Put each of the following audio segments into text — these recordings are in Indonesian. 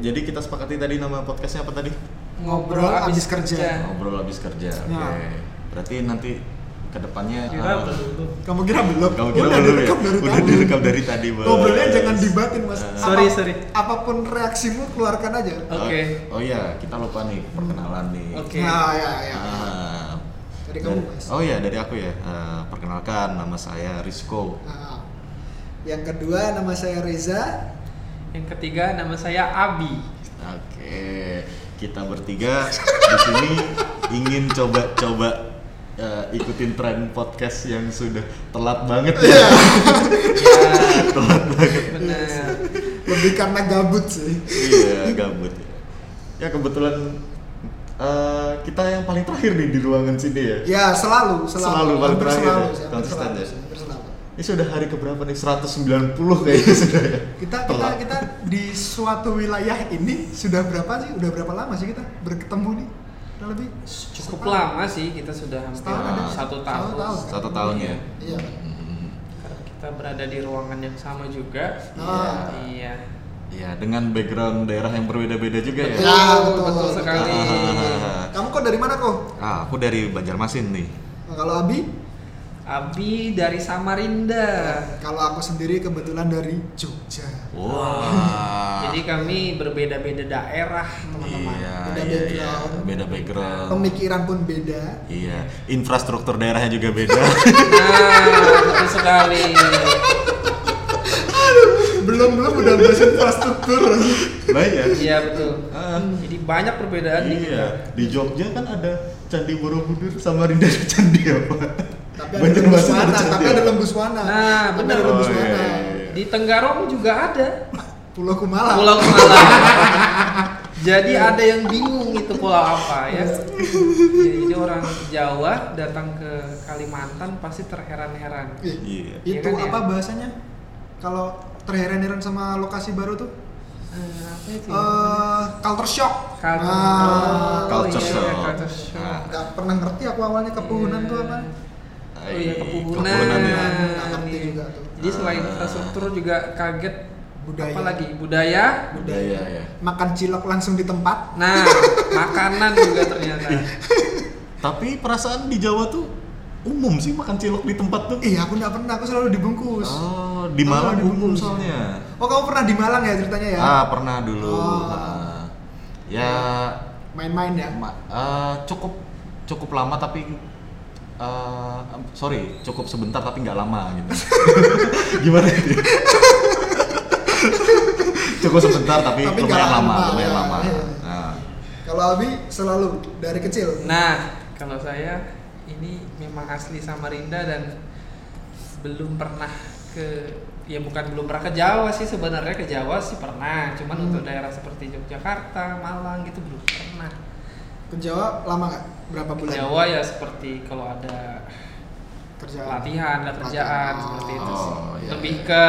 Jadi kita sepakati tadi nama podcastnya apa tadi? ngobrol abis kerja. Ngobrol habis kerja. Oke. Nah. Berarti nanti kedepannya uh, Kira belum. Kamu kira belum? kamu kira Udah belum ya? direkam dari Udah tadi. direkam dari tadi, Bos. Ngobrolnya jangan dibatin mas. Eh. Apa- Sorry, sorry. Apapun reaksimu keluarkan aja. Oh, Oke. Oh iya, kita lupa nih perkenalan nih. Oke. Nah ya ya. Ah, Dari dan- kamu, Mas. Oh iya, dari aku ya. Ah, perkenalkan nama saya Risco. Nah, yang kedua nama saya Reza. Yang ketiga nama saya Abi. Oke, kita bertiga di sini ingin coba-coba eh, ikutin tren podcast yang sudah telat banget Iya. ya. Ya, benar. Lebih karena gabut sih. iya, gabut. Ya kebetulan eh, kita yang paling terakhir nih di ruangan sini ya. Ya selalu selalu. Selalu, paling hampir terakhir selalu ya. sih, hampir Konsisten selalu ya. sih, hampir selalu. Ini sudah hari keberapa nih? 190 kayaknya sudah ya. Kita kita Telat. kita di suatu wilayah ini sudah berapa sih? Udah berapa lama sih kita berketemu nih? Kurang lebih Ya, Cukup setahun. lama sih kita sudah hampir Setahun ada. satu tahun. Satu tahun. Satu tahun ya. Iya. Hmm. Karena Kita berada di ruangan yang sama juga. Ah. Iya. Iya, dengan background daerah yang berbeda-beda juga ya. Ya, betul. Iya, betul, betul sekali. Ah. Kamu kok dari mana kok? Ah, aku dari Banjarmasin nih. Nah, Kalau Abi, Abi dari Samarinda. kalau aku sendiri kebetulan dari Jogja. Wah. Jadi kami berbeda-beda daerah, teman-teman. Iya, Beda iya, iya. background. Beda Ah. background. Pemikiran pun beda. Iya, infrastruktur daerahnya juga beda. Nah, betul sekali. Belum belum udah bahas infrastruktur. nah, iya. Iya, betul. Ah, Jadi banyak perbedaan nih. iya. Di Jogja kan ada Candi Borobudur sama Rinda ada Candi apa? tapi ada Banjarmasin lembu suwana, Candi tapi apa? ada lembu suwana. Nah, Tapi bener. ada Oh, lembu iya, suwana. iya, iya. Di Tenggarong juga ada. Pulau Kumala. Pulau Kumala. Jadi ada yang bingung itu pulau apa Iya. ya. Jadi orang Jawa datang ke Kalimantan pasti terheran-heran. Ih, Iya. Itu Iya kan, apa iya. bahasanya? Kalau terheran-heran sama lokasi baru tuh? Eh, apa itu? Eh, ya? culture shock. Culture- Nah, Oh, Ah, Culture iya, shock. culture shock. Nah, nggak pernah ngerti aku awalnya Ah. kepuhunan Iya. tuh apa? Ah, Oh iya kepuhunan. Kepuhunan Ah. ya. Nggak ngerti Iya. juga tuh. Iya. Jadi selain infrastruktur juga kaget Budaya. apalagi budaya. Budaya ya. Makan cilok langsung di tempat. Nah, makanan juga ternyata. Tapi perasaan di Jawa tuh umum sih makan cilok di tempat tuh. Iya, aku nggak pernah. Aku selalu dibungkus. Oh, di Aku Malang selalu umum dibungkus. soalnya. Oh, kamu pernah di Malang ya ceritanya ya? Ah, pernah dulu. Oh. Ah. ya Main-main ya. ma- ah, cukup cukup lama tapi ah, sorry, cukup sebentar tapi nggak lama gitu. Gimana itu? cukup sebentar tapi, Tapi nggak lumayan lama, lama, lumayan ya, lama. iya. Nah, Kalau Abi selalu dari kecil. Nah, kalau saya ini memang asli Samarinda dan belum pernah ke ya bukan belum pernah ke Jawa sih sebenarnya ke Jawa sih pernah, cuman Hmm. untuk daerah seperti Yogyakarta, Malang gitu belum pernah. Ke Jawa lama nggak? Berapa Ke bulan? Jawa ya seperti kalau ada Kerja. latihan, ada kerjaan Latihan. seperti itu sih. Oh, iya, Lebih iya. ke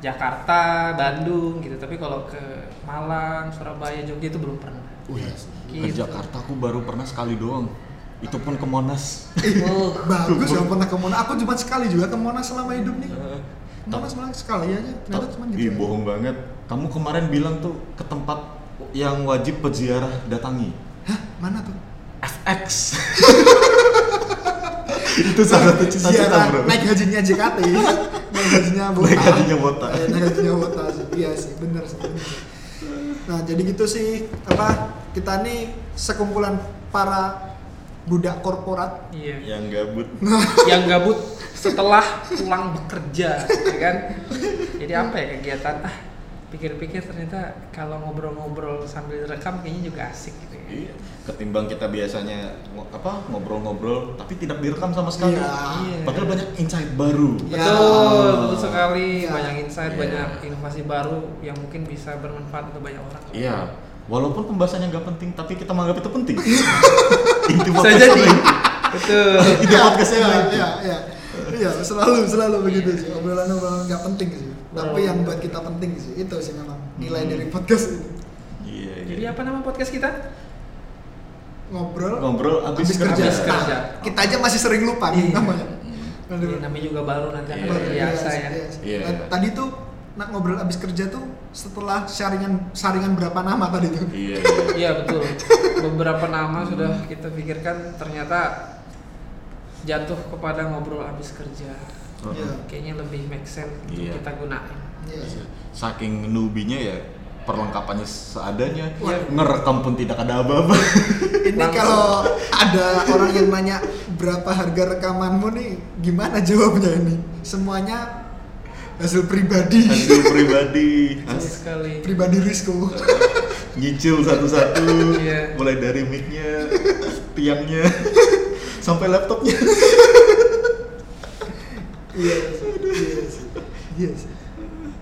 Jakarta, Bandung gitu, tapi kalau ke Malang, Surabaya, Jogja itu belum pernah. wih, ke Gitu. Jakarta aku baru pernah sekali doang. Itu pun ke Monas. Oh, Bagus ya pernah ke Monas. Aku cuma sekali juga ke Monas selama hidup nih. Eh, Monas malah sekali aja. Ternyata cuma gitu. Ih, bohong banget. Kamu kemarin bilang tuh ke tempat yang wajib peziarah datangi. Hah, mana tuh? FX. itu salah satu cita-cita Ziarah, bro. naik hajinya JKT. naik hajinya Bota. Naik hajinya Bota. Eh, naik hajinya Bota sih. Iya sih, bener sih. bener sih. Nah, jadi gitu sih apa kita nih sekumpulan para budak korporat. Iya. Yang gabut. yang gabut setelah pulang bekerja, ya kan? Jadi apa ya kegiatan? Ah, pikir-pikir ternyata kalau ngobrol-ngobrol sambil rekam kayaknya juga asik gitu ya. Iya. Ketimbang kita biasanya ngo- apa ngobrol-ngobrol tapi tidak direkam sama sekali. Iya. Padahal banyak insight baru. Iya. Betul, betul sekali. Iya. Banyak insight, Iya. banyak inovasi baru yang mungkin bisa bermanfaat untuk banyak orang. Iya. Walaupun pembahasannya nggak penting, tapi kita menganggap itu penting. Inti Bisa podcastnya jadi. itu. Betul. Ide podcastnya kan? Iya, lain. Iya, iya. Iya, selalu selalu begitu sih. Obrolan-obrolan nggak penting sih. Tapi Obrolan. yang buat kita penting sih itu sih memang nilai Oh. Hmm. dari podcast ini. Iya. iya. Jadi apa nama podcast kita? Ngobrol Ngobrol abis, habis kerja. Habis kerja. Nah, kita aja masih sering lupa Iya. nih namanya. Hmm. Ya, namanya juga baru nanti akan Iya. terbiasa ya. Iya. Iya. Nah, Tadi tuh nak ngobrol abis kerja tuh setelah saringan saringan berapa nama tadi itu Iya. Iya betul. Beberapa nama sudah kita pikirkan ternyata jatuh kepada ngobrol habis kerja. Iya. Kayaknya lebih make sense untuk Iya. kita gunain. Iya. Iya. Saking nubinya ya perlengkapannya seadanya. Iya. Ngerekam pun tidak ada apa-apa. ini Langsung. kalau ada orang yang nanya berapa harga rekamanmu nih gimana jawabnya ini semuanya hasil pribadi Hasil pribadi. Betul Iya sekali. pribadi Rizko nyicil satu-satu Iya. mulai dari mic-nya tiangnya sampai laptopnya iya sih, iya sih, iya sih.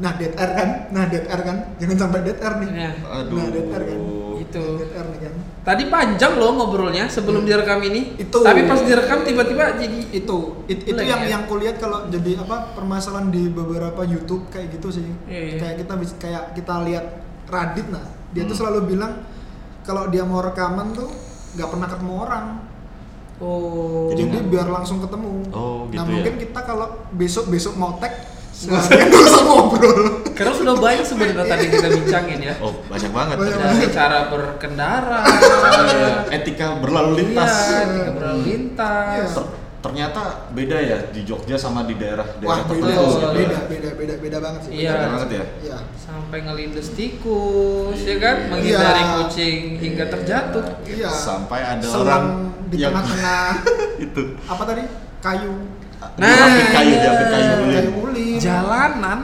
nah dead air kan nah dead air kan jangan sampai dead air nih Iya. aduh Nah, datar kan? Itu. dead air nih kan Tadi panjang loh ngobrolnya sebelum Iya. direkam ini. Itu. Tapi pas direkam tiba-tiba jadi itu it- itu Blank yang ya? yang kulihat kalau jadi apa permasalahan di beberapa YouTube kayak gitu sih Iya, iya. kayak kita bisa kayak kita lihat Radit nah dia tuh Hmm. selalu bilang kalau dia mau rekaman tuh nggak pernah ketemu orang Oh. Jadi jadi nggak- biar langsung ketemu Oh, nah gitu ya. mungkin kita kalau besok besok mau tag seharian nggak usah ngobrol Karena sudah banyak sebenarnya tadi kita bincangin ya. oh banyak banget Banyak ternyata. Dari cara berkendara, Iya, etika berlalu lintas Iya, etika berlalu lintas. Iya. Ter- ternyata beda ya di Jogja sama di wah daerah-daerah beda tertentu betul. beda beda beda beda banget sih Iya. Beda banget ya Iya. sampai ngelindes tikus ya kan Iya. menghindari Iya. kucing hingga terjatuh Iya. sampai ada orang selang di yang tengah-tengah itu apa tadi kayu Nah, diapit kayu diapit kayu ya. iya. ulin. kayu ulin jalanan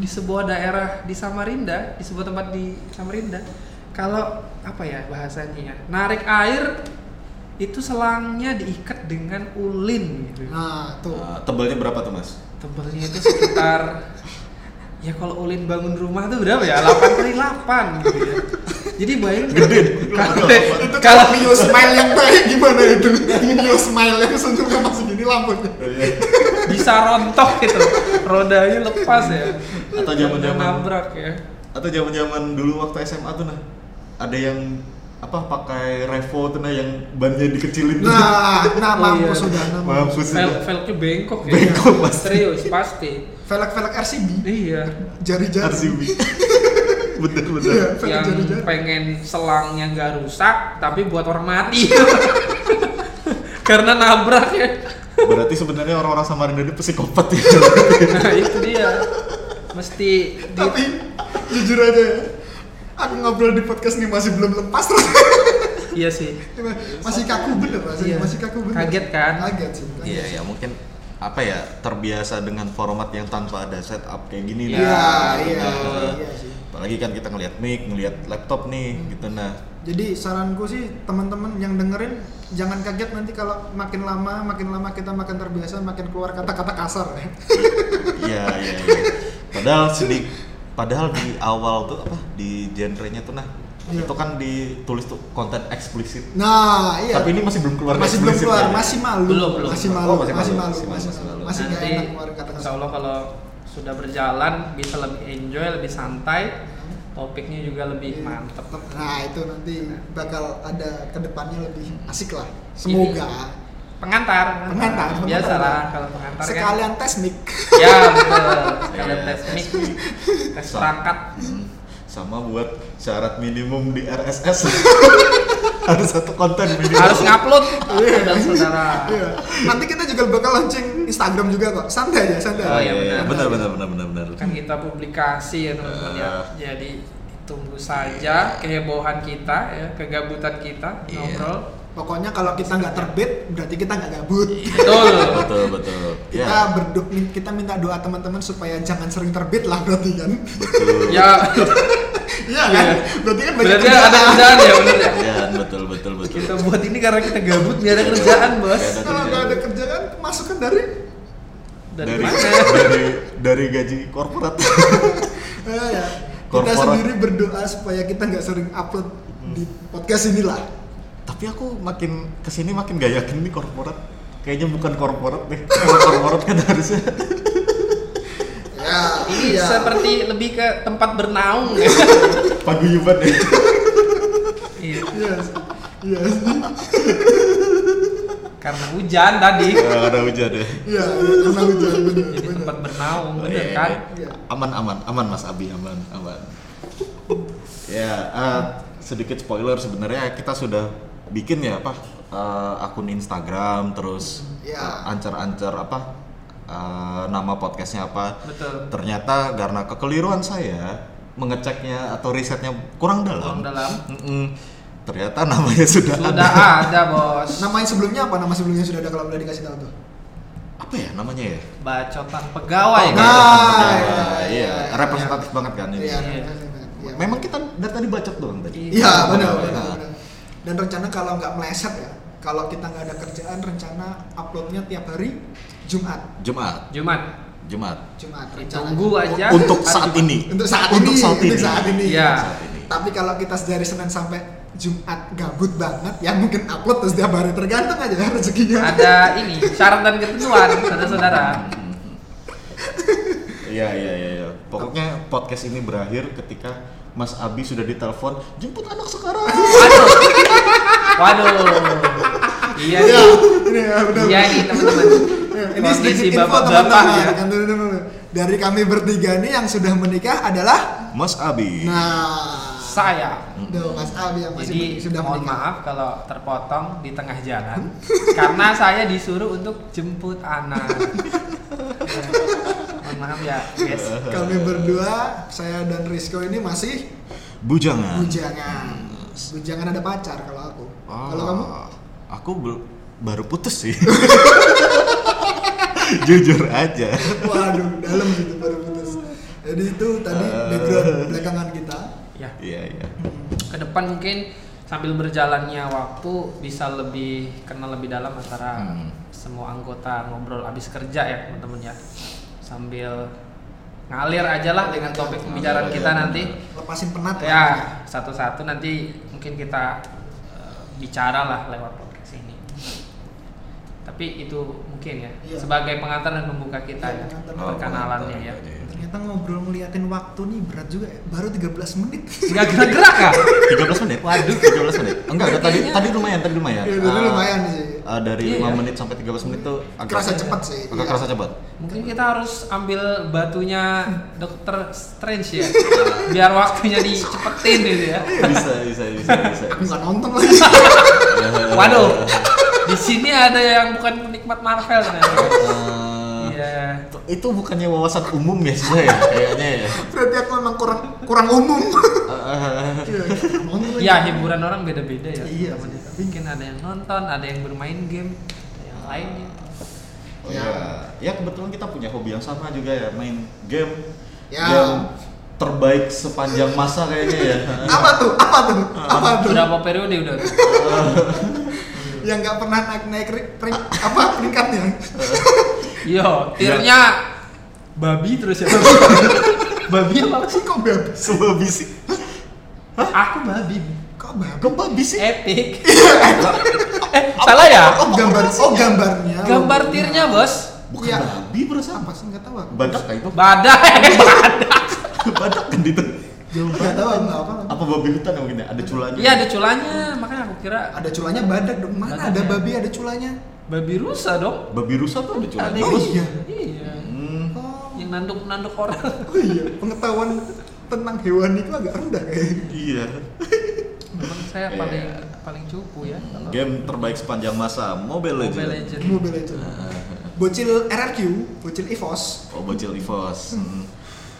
di sebuah daerah di Samarinda di sebuah tempat di Samarinda kalau apa ya bahasanya ya narik air itu selangnya diikat dengan ulin gitu nah tuh Eh, tebalnya berapa tuh mas tebelnya itu sekitar ya kalau ulin bangun rumah tuh berapa ya 8 kali 8 gitu ya jadi bayangin Gede. kalau itu kalau kalau Mio smile yang baik gimana ya? itu Mio smile yang senyumnya masih gini lampunya bisa rontok gitu rodanya lepas ya Atau zaman-zaman- nabrak ya atau zaman zaman dulu waktu SMA tuh nah ada yang apa pakai revo tuh nah yang bannya dikecilin nah Oh, nah mampus iya. sudah nah, mampus mampus Vel itu velgnya bengkok ya Bengkok pasti. serius pasti velg-velg RCB iya jari-jari RCB bener bener iya velg yang jari-jari pengen selangnya nggak rusak tapi buat orang mati karena nabrak ya berarti sebenarnya orang-orang Samarinda itu psikopat ya nah itu dia mesti di tapi jujur aja ya aku ngobrol di podcast ini masih belum lepas terus iya sih masih kaku bener rasanya Iya. masih kaku bener Kaget kan? kaget sih kaget. iya ya mungkin apa ya terbiasa dengan format yang tanpa ada setup kayak gini Iya, nah iya Nah, iya sih apalagi kan kita ngelihat mic ngelihat laptop nih gitu nah Jadi saranku sih teman-teman yang dengerin jangan kaget nanti kalau makin lama makin lama kita makin terbiasa makin keluar kata-kata kasar. ya. iya iya iya. padahal sedih padahal di awal tuh apa di genrenya tuh nah Iya. itu kan ditulis tuh konten eksplisit Nah, iya. tapi ini masih belum keluar masih belum eksplisit keluar, kayaknya. masih malu, Belum, belum. masih Oh, malu, masih masih malu, malu, masih masih malu, malu, masih masih nggak nanti enak keluar kata insya kasar. Allah kalau sudah berjalan bisa lebih enjoy lebih santai topiknya juga lebih mantep Nah itu nanti bakal ada kedepannya lebih asik lah. Iya. Semoga pengantar Pengantar, biasa pengantar. lah kalau pengantar kan sekalian tes mic. ya betul sekalian Iya, tes mic tes mic. tes perangkat Hmm. sama buat syarat minimum di RSS harus satu konten minimal harus ngupload dan saudara Iya. Nanti kita juga bakal launching Instagram juga kok. Santai aja, santai. oh, Oh, iya, iya, iya. benar benar. benar benar benar benar kan gitu. kita publikasi ya teman-teman ya jadi tunggu saja kehebohan kita ya kegabutan kita Iya. ngobrol Pokoknya kalau kita nggak terbit berarti kita nggak gabut. betul betul betul kita ya berdo min- kita minta doa teman-teman supaya jangan sering terbit lah berarti kan betul ya iya kan Iya. berarti kan banyak berarti ada kerjaan. kerjaan ya benar ya ya betul betul betul Gitu. kita buat ini karena kita gabut nggak ada kerjaan bos Nggak kalau nggak ada kerjaan masukan dari dari dari mana dari dari gaji korporat eh, ya. kita Korporat. sendiri berdoa supaya kita nggak sering upload di podcast inilah tapi aku makin kesini makin gak yakin nih korporat kayaknya bukan korporat nih kalau korporat kan harusnya ya ini iya. seperti lebih ke tempat bernaung ya paguyuban ya Iya. Yes. Yes. karena hujan tadi. Karena hujan ya. Iya, iya, karena hujan bener. Jadi bener. tempat bernaung, Iya, bener iya, kan? iya. Aman aman aman Mas Abi aman aman. ya eh, sedikit spoiler sebenarnya kita sudah bikin ya apa eh, akun Instagram terus Ya. Iya. eh, ancar-ancar apa eh, nama podcastnya apa. Betul. Ternyata karena kekeliruan saya mengeceknya atau risetnya kurang dalam. Kurang dalam. Mm-mm. Ternyata namanya sudah, Sudah ada. ada bos. Namanya sebelumnya apa? Nama sebelumnya sudah ada kalau boleh dikasih tahu tuh. Apa ya namanya ya? Bacotan pegawai. Oh, kan? nah. Nah, iya, iya, iya. representatif banget kan ini. Iya. Iya. iya. Memang kita dari tadi bacot doang tadi. Iya. Iya, benar, Benar. benar, benar. Dan rencana kalau nggak meleset ya, kalau kita nggak ada kerjaan, rencana uploadnya tiap hari Jumat, Jumat, Jumat. Jumat. Jumat. Rencana Tunggu aja. Untuk hari saat Jumat. ini. Ya, Untuk saat Untuk ini, saat ini. untuk saat ini. Iya. Saat ini. Tapi kalau kita dari Senin sampai Jumat gabut banget, ya mungkin upload terus tiap hari tergantung aja ya rezekinya. Ada ini syarat dan ketentuan, saudara-saudara. Iya, iya, iya, iya. Pokoknya podcast ini berakhir ketika Mas Abi sudah ditelepon, jemput anak sekarang. Waduh. Waduh. Iya nih. ini ya benar. Iya nih teman-teman. Iya, Ini sedikit info bapak-bapak teman-teman. ya. Kan, dulu, dulu, dulu. Dari kami bertiga nih yang sudah menikah adalah Mas Abi. nah Saya. Duh, Mas Abi yang masih Jadi ber- sudah mohon menikah. maaf kalau terpotong di tengah jalan karena saya disuruh untuk jemput anak. Ya. mohon maaf ya, guys. Kami berdua, saya dan Rizko ini masih Hmm. Bujangan. bujangan. Bujangan ada pacar kalau aku. Oh. Ah, Kalau kamu? Aku bel- baru putus sih. Jujur aja. Waduh, dalam gitu baru putus. Jadi itu tadi background belakangan kita. Ya, Iya, iya. ke depan mungkin sambil berjalannya waktu bisa lebih kenal lebih dalam antara Hmm. semua anggota ngobrol abis kerja ya teman-teman ya. Sambil ngalir aja lah dengan topik pembicaraan Ngalir, kita ya, nanti. benar. Lepasin penat Ya, satu-satu nanti mungkin kita eh, bicara lah lewat podcast ini. Tapi itu mungkin ya, Iya. sebagai pengantar dan pembuka kita Iya, ya, Oh, pengantar. perkenalannya ya. Ternyata ngobrol ngeliatin waktu nih berat juga ya. Baru 13 menit. Nggak gerak-gerak ya? kah? 13 menit? Waduh, 13 menit. Enggak, enggak tadi Kayaknya- tadi lumayan, tadi lumayan. Iya, tadi Ah, lumayan sih. ah, dari Iya, 5 iya. menit sampai 13 menit tuh agak Kerasa cepat sih, Agak iya. kerasa cepat. Mungkin kita harus ambil batunya Dokter Strange ya, biar waktunya dicepetin gitu ya. Bisa, bisa, bisa, bisa. Ya, Aku nggak nonton lagi. Waduh, di sini ada yang bukan penikmat Marvel ternyata. Eh, Iya. itu bukannya wawasan umum ya saya kayaknya ya. Berarti aku memang kurang kurang umum. Eh, Iya, nggak nonton lagi. Ya hiburan orang beda-beda ya. Iya, teman-teman. sih. Mungkin ada yang nonton, ada yang bermain game, ada yang lainnya. ya, ya kebetulan kita punya hobi yang sama juga ya, main game Ya. yang terbaik sepanjang masa kayaknya ya. Apa tuh? Apa tuh? Apa tuh? Berapa periode udah? Yang nggak pernah naik naik ri- ri- apa peringkatnya? Yo, Iya, tirnya babi terus ya. babi apa sih? Sih kok babi? Sebab bisik. Aku babi. Iya. Kok babi? Gempa bisik. Epic. eh, salah ya? Oh gambar, oh gambarnya. Gambar logonya. tirnya, Bos. Bukan Iya. babi perasaan. Apa sih nggak tahu aku. Badak kan itu? Badai, badai. Badak kan itu. Jauh nggak tahu aku nggak apa. Apa babi hutan ya mungkin ya? Ada culanya. Iya, ada culanya. Makanya aku kira Ada culanya badak dong. Mana Badak ada ya? babi ada culanya? babi rusa dong. Babi rusa tuh ada culanya. Oh iya. Iya. Hmm. Oh, Yang nanduk-nanduk orang. oh iya. Pengetahuan tentang hewan itu agak rendah kayaknya. Iya. Memang Iya. saya paling paling cupu ya. kalau- Game terbaik sepanjang masa, Mobile Legends. Mobile Legends. Mobile Legends. eh. Bocil RRQ, bocil EVOS. Oh, bocil Evos. Hmm.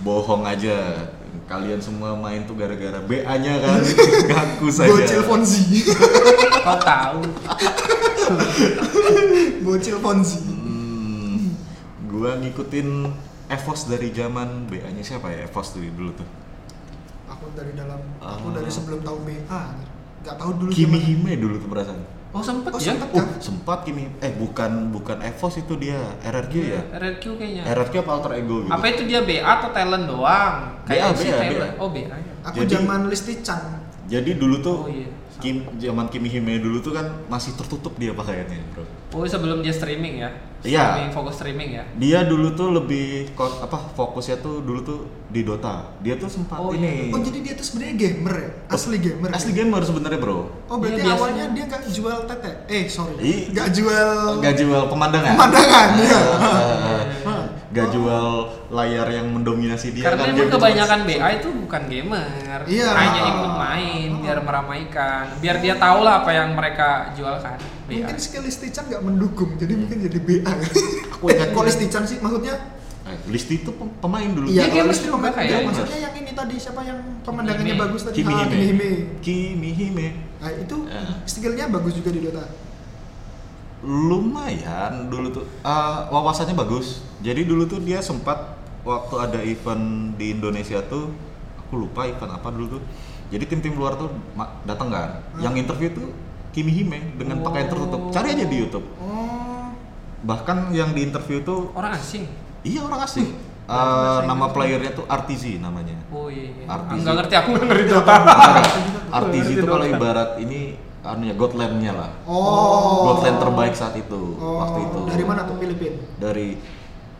Bohong aja. Kalian semua main tuh gara-gara BA-nya kan. Ngaku saja. Bocil Fonzi. Kau tahu. bocil Fonzi. Hmm. Gua ngikutin Evos dari zaman BA-nya siapa ya? Evos tuh dulu tuh. Aku dari dalam, aku Ah. dari sebelum tahun BA. Gak tahu dulu. Kimi Hime gimana. dulu tuh perasaan. Oh sempet Oh, ya? sempet. Oh, sempat Kimi. Eh, bukan bukan Evos itu dia. RRQ ya? RRQ kayaknya. RRQ apa alter ego gitu? Apa itu dia BA atau talent doang? BA, Kayaknya sih BA. talent. Oh BA ya. Aku Jadi- zaman Listi Chan. Jadi dulu tuh Oh iya. Kim zaman Kimi Hime dulu tuh kan masih tertutup dia pakaiannya, Bro. Oh sebelum dia streaming ya? Iya. Streaming, fokus streaming ya? Dia dulu tuh lebih kon- apa fokusnya tuh dulu tuh di Dota. Dia tuh sempat Oh, ini. Oh jadi dia tuh sebenarnya gamer ya? Asli gamer. Iya. Oh, Asli gamer sebenarnya, Bro. Oh berarti Iya, biasanya. awalnya dia nggak jual tete? Eh sorry, Ih. nggak jual Oh, Gak jual pemandangan. pemandangan ya? Iya, Gak jual layar yang mendominasi dia Karena kan emang dia kebanyakan BA itu bukan gamer, Iya. hanya ikut main biar meramaikan, biar dia tahu lah apa yang mereka jualkan. Iya. BA. Mungkin sekali Stichan nggak mendukung, jadi mungkin jadi Aku BA. eh, ingat kok Stichan sih maksudnya? Eh, Listi itu pem- pemain dulu. Iya, Iya, gamer kalau Stichan juga nggak, ya? kayaknya. maksudnya yang ini tadi siapa yang pemandangannya Kimi. bagus tadi? Kimi Ah, Hime. Kimi Hime. Kimi Hime. Nah itu Ya. skillnya bagus juga di Dota. Lumayan dulu tuh Ah, wawasannya bagus. Jadi dulu tuh dia sempat waktu ada event di Indonesia tuh aku lupa event apa dulu tuh. Jadi tim-tim luar tuh ma- datang kan. Yang interview tuh Kimi Hime dengan pakaian Hmm. Oh. tertutup. Cari aja di YouTube. Oh, Bahkan yang di interview tuh Orang asing. iya orang asing. Eh, Hmm. Orang asing. nama playernya tuh RTZ namanya. Oh iya. iya. Artis. Iya, Enggak ngerti aku ngeri Dota. ya, RTZ itu kalau Dota. ibarat ini anunya Gotland-nya lah. Oh. Gotland terbaik saat itu oh. waktu itu. dari mana tuh Filipina? Dari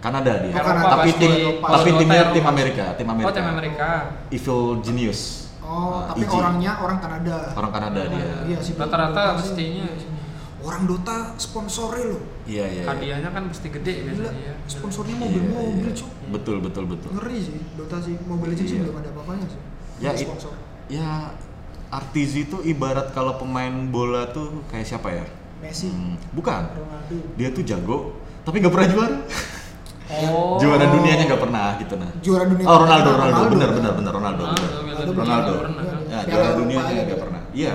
Kanada dia. Oh, Kanada. Tapi tim Basketball. tapi Basketball timnya Eropa. tim Amerika, tim Amerika. Oh tim Amerika. Evil Genius. Oh, Nah, tapi EG. orangnya orang Kanada. orang Kanada dia. Iya sih. Rata-rata Dota sih. mestinya. Orang Dota sponsornya loh. Iya, iya. iya. Hadiahnya kan mesti gede Gila, biasanya. sponsornya Iya, mobil-mobil iya. cuk. Betul, betul, betul. Ngeri sih Dota sih. Mobile Legends sih Iya. belum ada apa-apanya sih. Ya, Ada it- sponsor. Ya Artizi itu ibarat kalau pemain bola tuh kayak siapa ya? Messi, Hmm, bukan. Ronaldo. Dia tuh jago, tapi nggak pernah juara. Oh. Juara dunianya nggak pernah gitu nah. Juara dunia. Oh Ronaldo, Ronaldo, Ronaldo. benar, benar, benar Ronaldo. Ah, benar. Ronaldo, Ronaldo. pernah kan? Ya, Piala juara Eropa gitu. dunia aja dia nggak dia. pernah. Iya.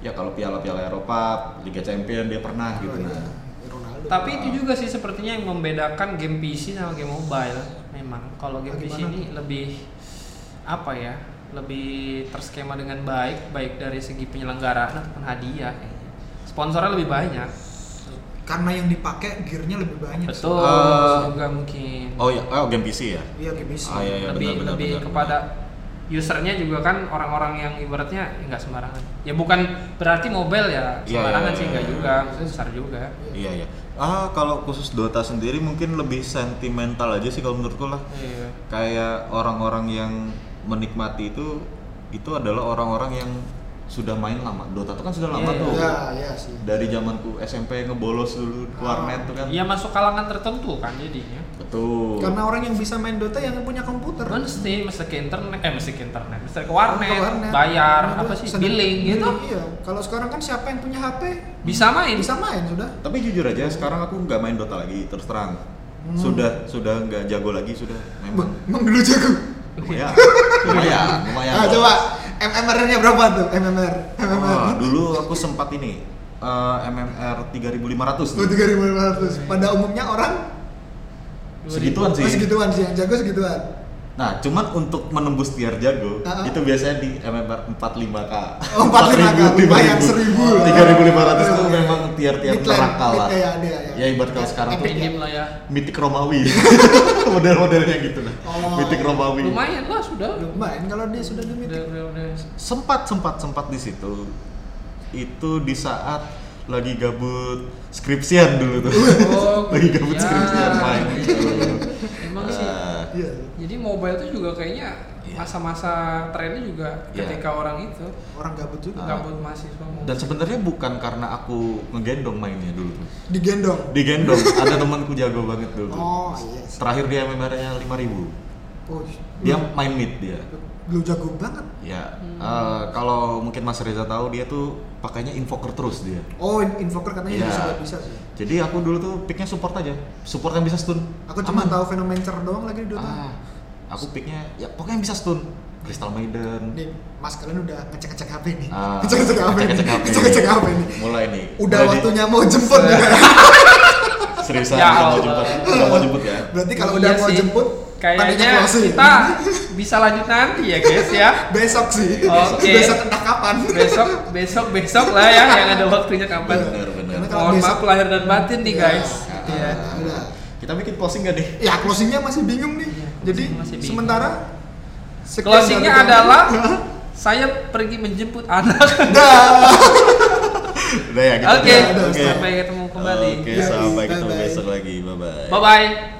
Ya kalau piala-piala Eropa, Liga Champion dia pernah gitu Oh, iya. nah. Ronaldo. Tapi itu juga sih sepertinya yang membedakan game PC sama game mobile. Memang kalau game Ah, PC gimana ini lebih apa ya? Lebih terskema dengan baik, baik dari segi penyelenggaraan ataupun hadiah. kayaknya. Sponsornya lebih banyak. karena yang dipakai gearnya lebih banyak. sih. Betul. Eh, juga Gitu. mungkin. Oh iya, oh game PC ya. Iya, kayak Messi. Ah, iya, iya, lebih benar, benar, lebih benar, kepada usernya juga kan orang-orang yang ibaratnya ya nggak sembarangan. Ya bukan berarti mobile ya Iya, iya, sembarangan iya, sih nggak iya. juga, maksudnya besar juga. Iya, iya. Ah, kalau khusus Dota sendiri mungkin lebih sentimental aja sih kalau menurutku lah. Iya. Kayak orang-orang yang menikmati itu itu adalah orang-orang yang sudah main lama. Dota tuh kan sudah lama Iya, tuh. Iya, iya sih. Dari zamanku SMP ngebolos dulu ke warnet tuh kan. Ya masuk kalangan tertentu kan jadinya. Betul. Kan Karena orang yang bisa main Dota yang punya komputer. Mesti mesti ke internet, eh mesti ke internet, mesti ke Ke warnet, warnet. bayar Nah, apa gua sih sedang- billing gitu. Iya. Kalau sekarang kan siapa yang punya HP Bisa main. bisa main sudah. Tapi jujur aja sekarang aku nggak main Dota lagi terus terang. Hmm. Sudah sudah nggak jago lagi sudah Bah, memang. Emang dulu jago. Lumayan. Lumayan, lumayan. Ah, coba MMR-nya berapa tuh? MMR. MMR. Wah, Ah, dulu aku sempat ini eh, MMR 3500 Oh, nih. 3500. Pada umumnya orang Segituan oh, sih. segituan sih, yang jago segituan. Nah, cuman untuk menembus tier jago Ah. itu biasanya di MMR 45K. Oh, 45K, lumayan 1000. 3500 itu Oh, iya. memang tier-tier Midland, neraka lah. mid- iya, iya, iya. Ya ibarat kalau sekarang tuh Epic Minim lah ya. mitik Romawi. Model-modelnya gitu lah. Oh. Mitik Romawi. Lumayan lah sudah. Belum main kalau dia ya, sudah di Udah, mythic. udah, udah. sempat sempat sempat di situ itu di saat lagi gabut skripsian dulu tuh Oh, lagi gabut ya. skripsian main gitu Emang sih. Eh, Iya. Jadi mobile tuh juga kayaknya Iya. masa-masa trennya juga Iya. ketika orang itu Orang gabut juga. Ah. gabut mahasiswa mau. dan sebenarnya bukan karena aku ngegendong mainnya dulu tuh Digendong. digendong ada temanku jago banget dulu tuh. Oh, iya. sih. terakhir dia MMR nya 5000 Oh, dia main mid dia lu jago banget. ya Hmm. eh, kalau mungkin Mas Reza tahu dia tuh pakainya invoker terus dia Oh, in- invoker katanya Iya. juga sudah bisa sih. jadi aku dulu tuh picknya support aja support yang bisa stun Aku cuma Aman. tahu fenomencer doang lagi di Dota. Ah, aku picknya ya pokoknya yang bisa stun. Crystal Maiden. Nih, Mas kalian udah ngecek-ngecek HP nih. Ah, Ngecek-ngecek HP. nih. ngecek-ngecek HP. Ngecek-ngecek HP nih. Mulai nih. Udah Mulai waktunya mau jemput Se- ya. Di, seriusan Ya udah mau Allah. jemput. Udah mau jemput ya. Berarti kalau Iya udah mau sih. jemput, tandanya kayaknya closing. kita bisa lanjut nanti ya guys ya. besok sih. Oke. Besok entah kapan. Besok, besok, besok lah ya yang ada waktunya Iya. kapan. Bener, bener. Ah, Karena kalau Mohon besok- maaf lahir dan batin nih Iya. guys. Iya. Udah. Kita bikin closing gak nih? Ya closingnya masih bingung nih. Iya, Jadi closing masih bingung. sementara sekian Closingnya dari kami. adalah saya pergi menjemput Iya, anak. Udah ya gitu. Oke, aja. Oke. iya, sampai ketemu kembali. Oke, Yoi, sampai ketemu bye-bye. besok lagi. Bye bye. Bye bye.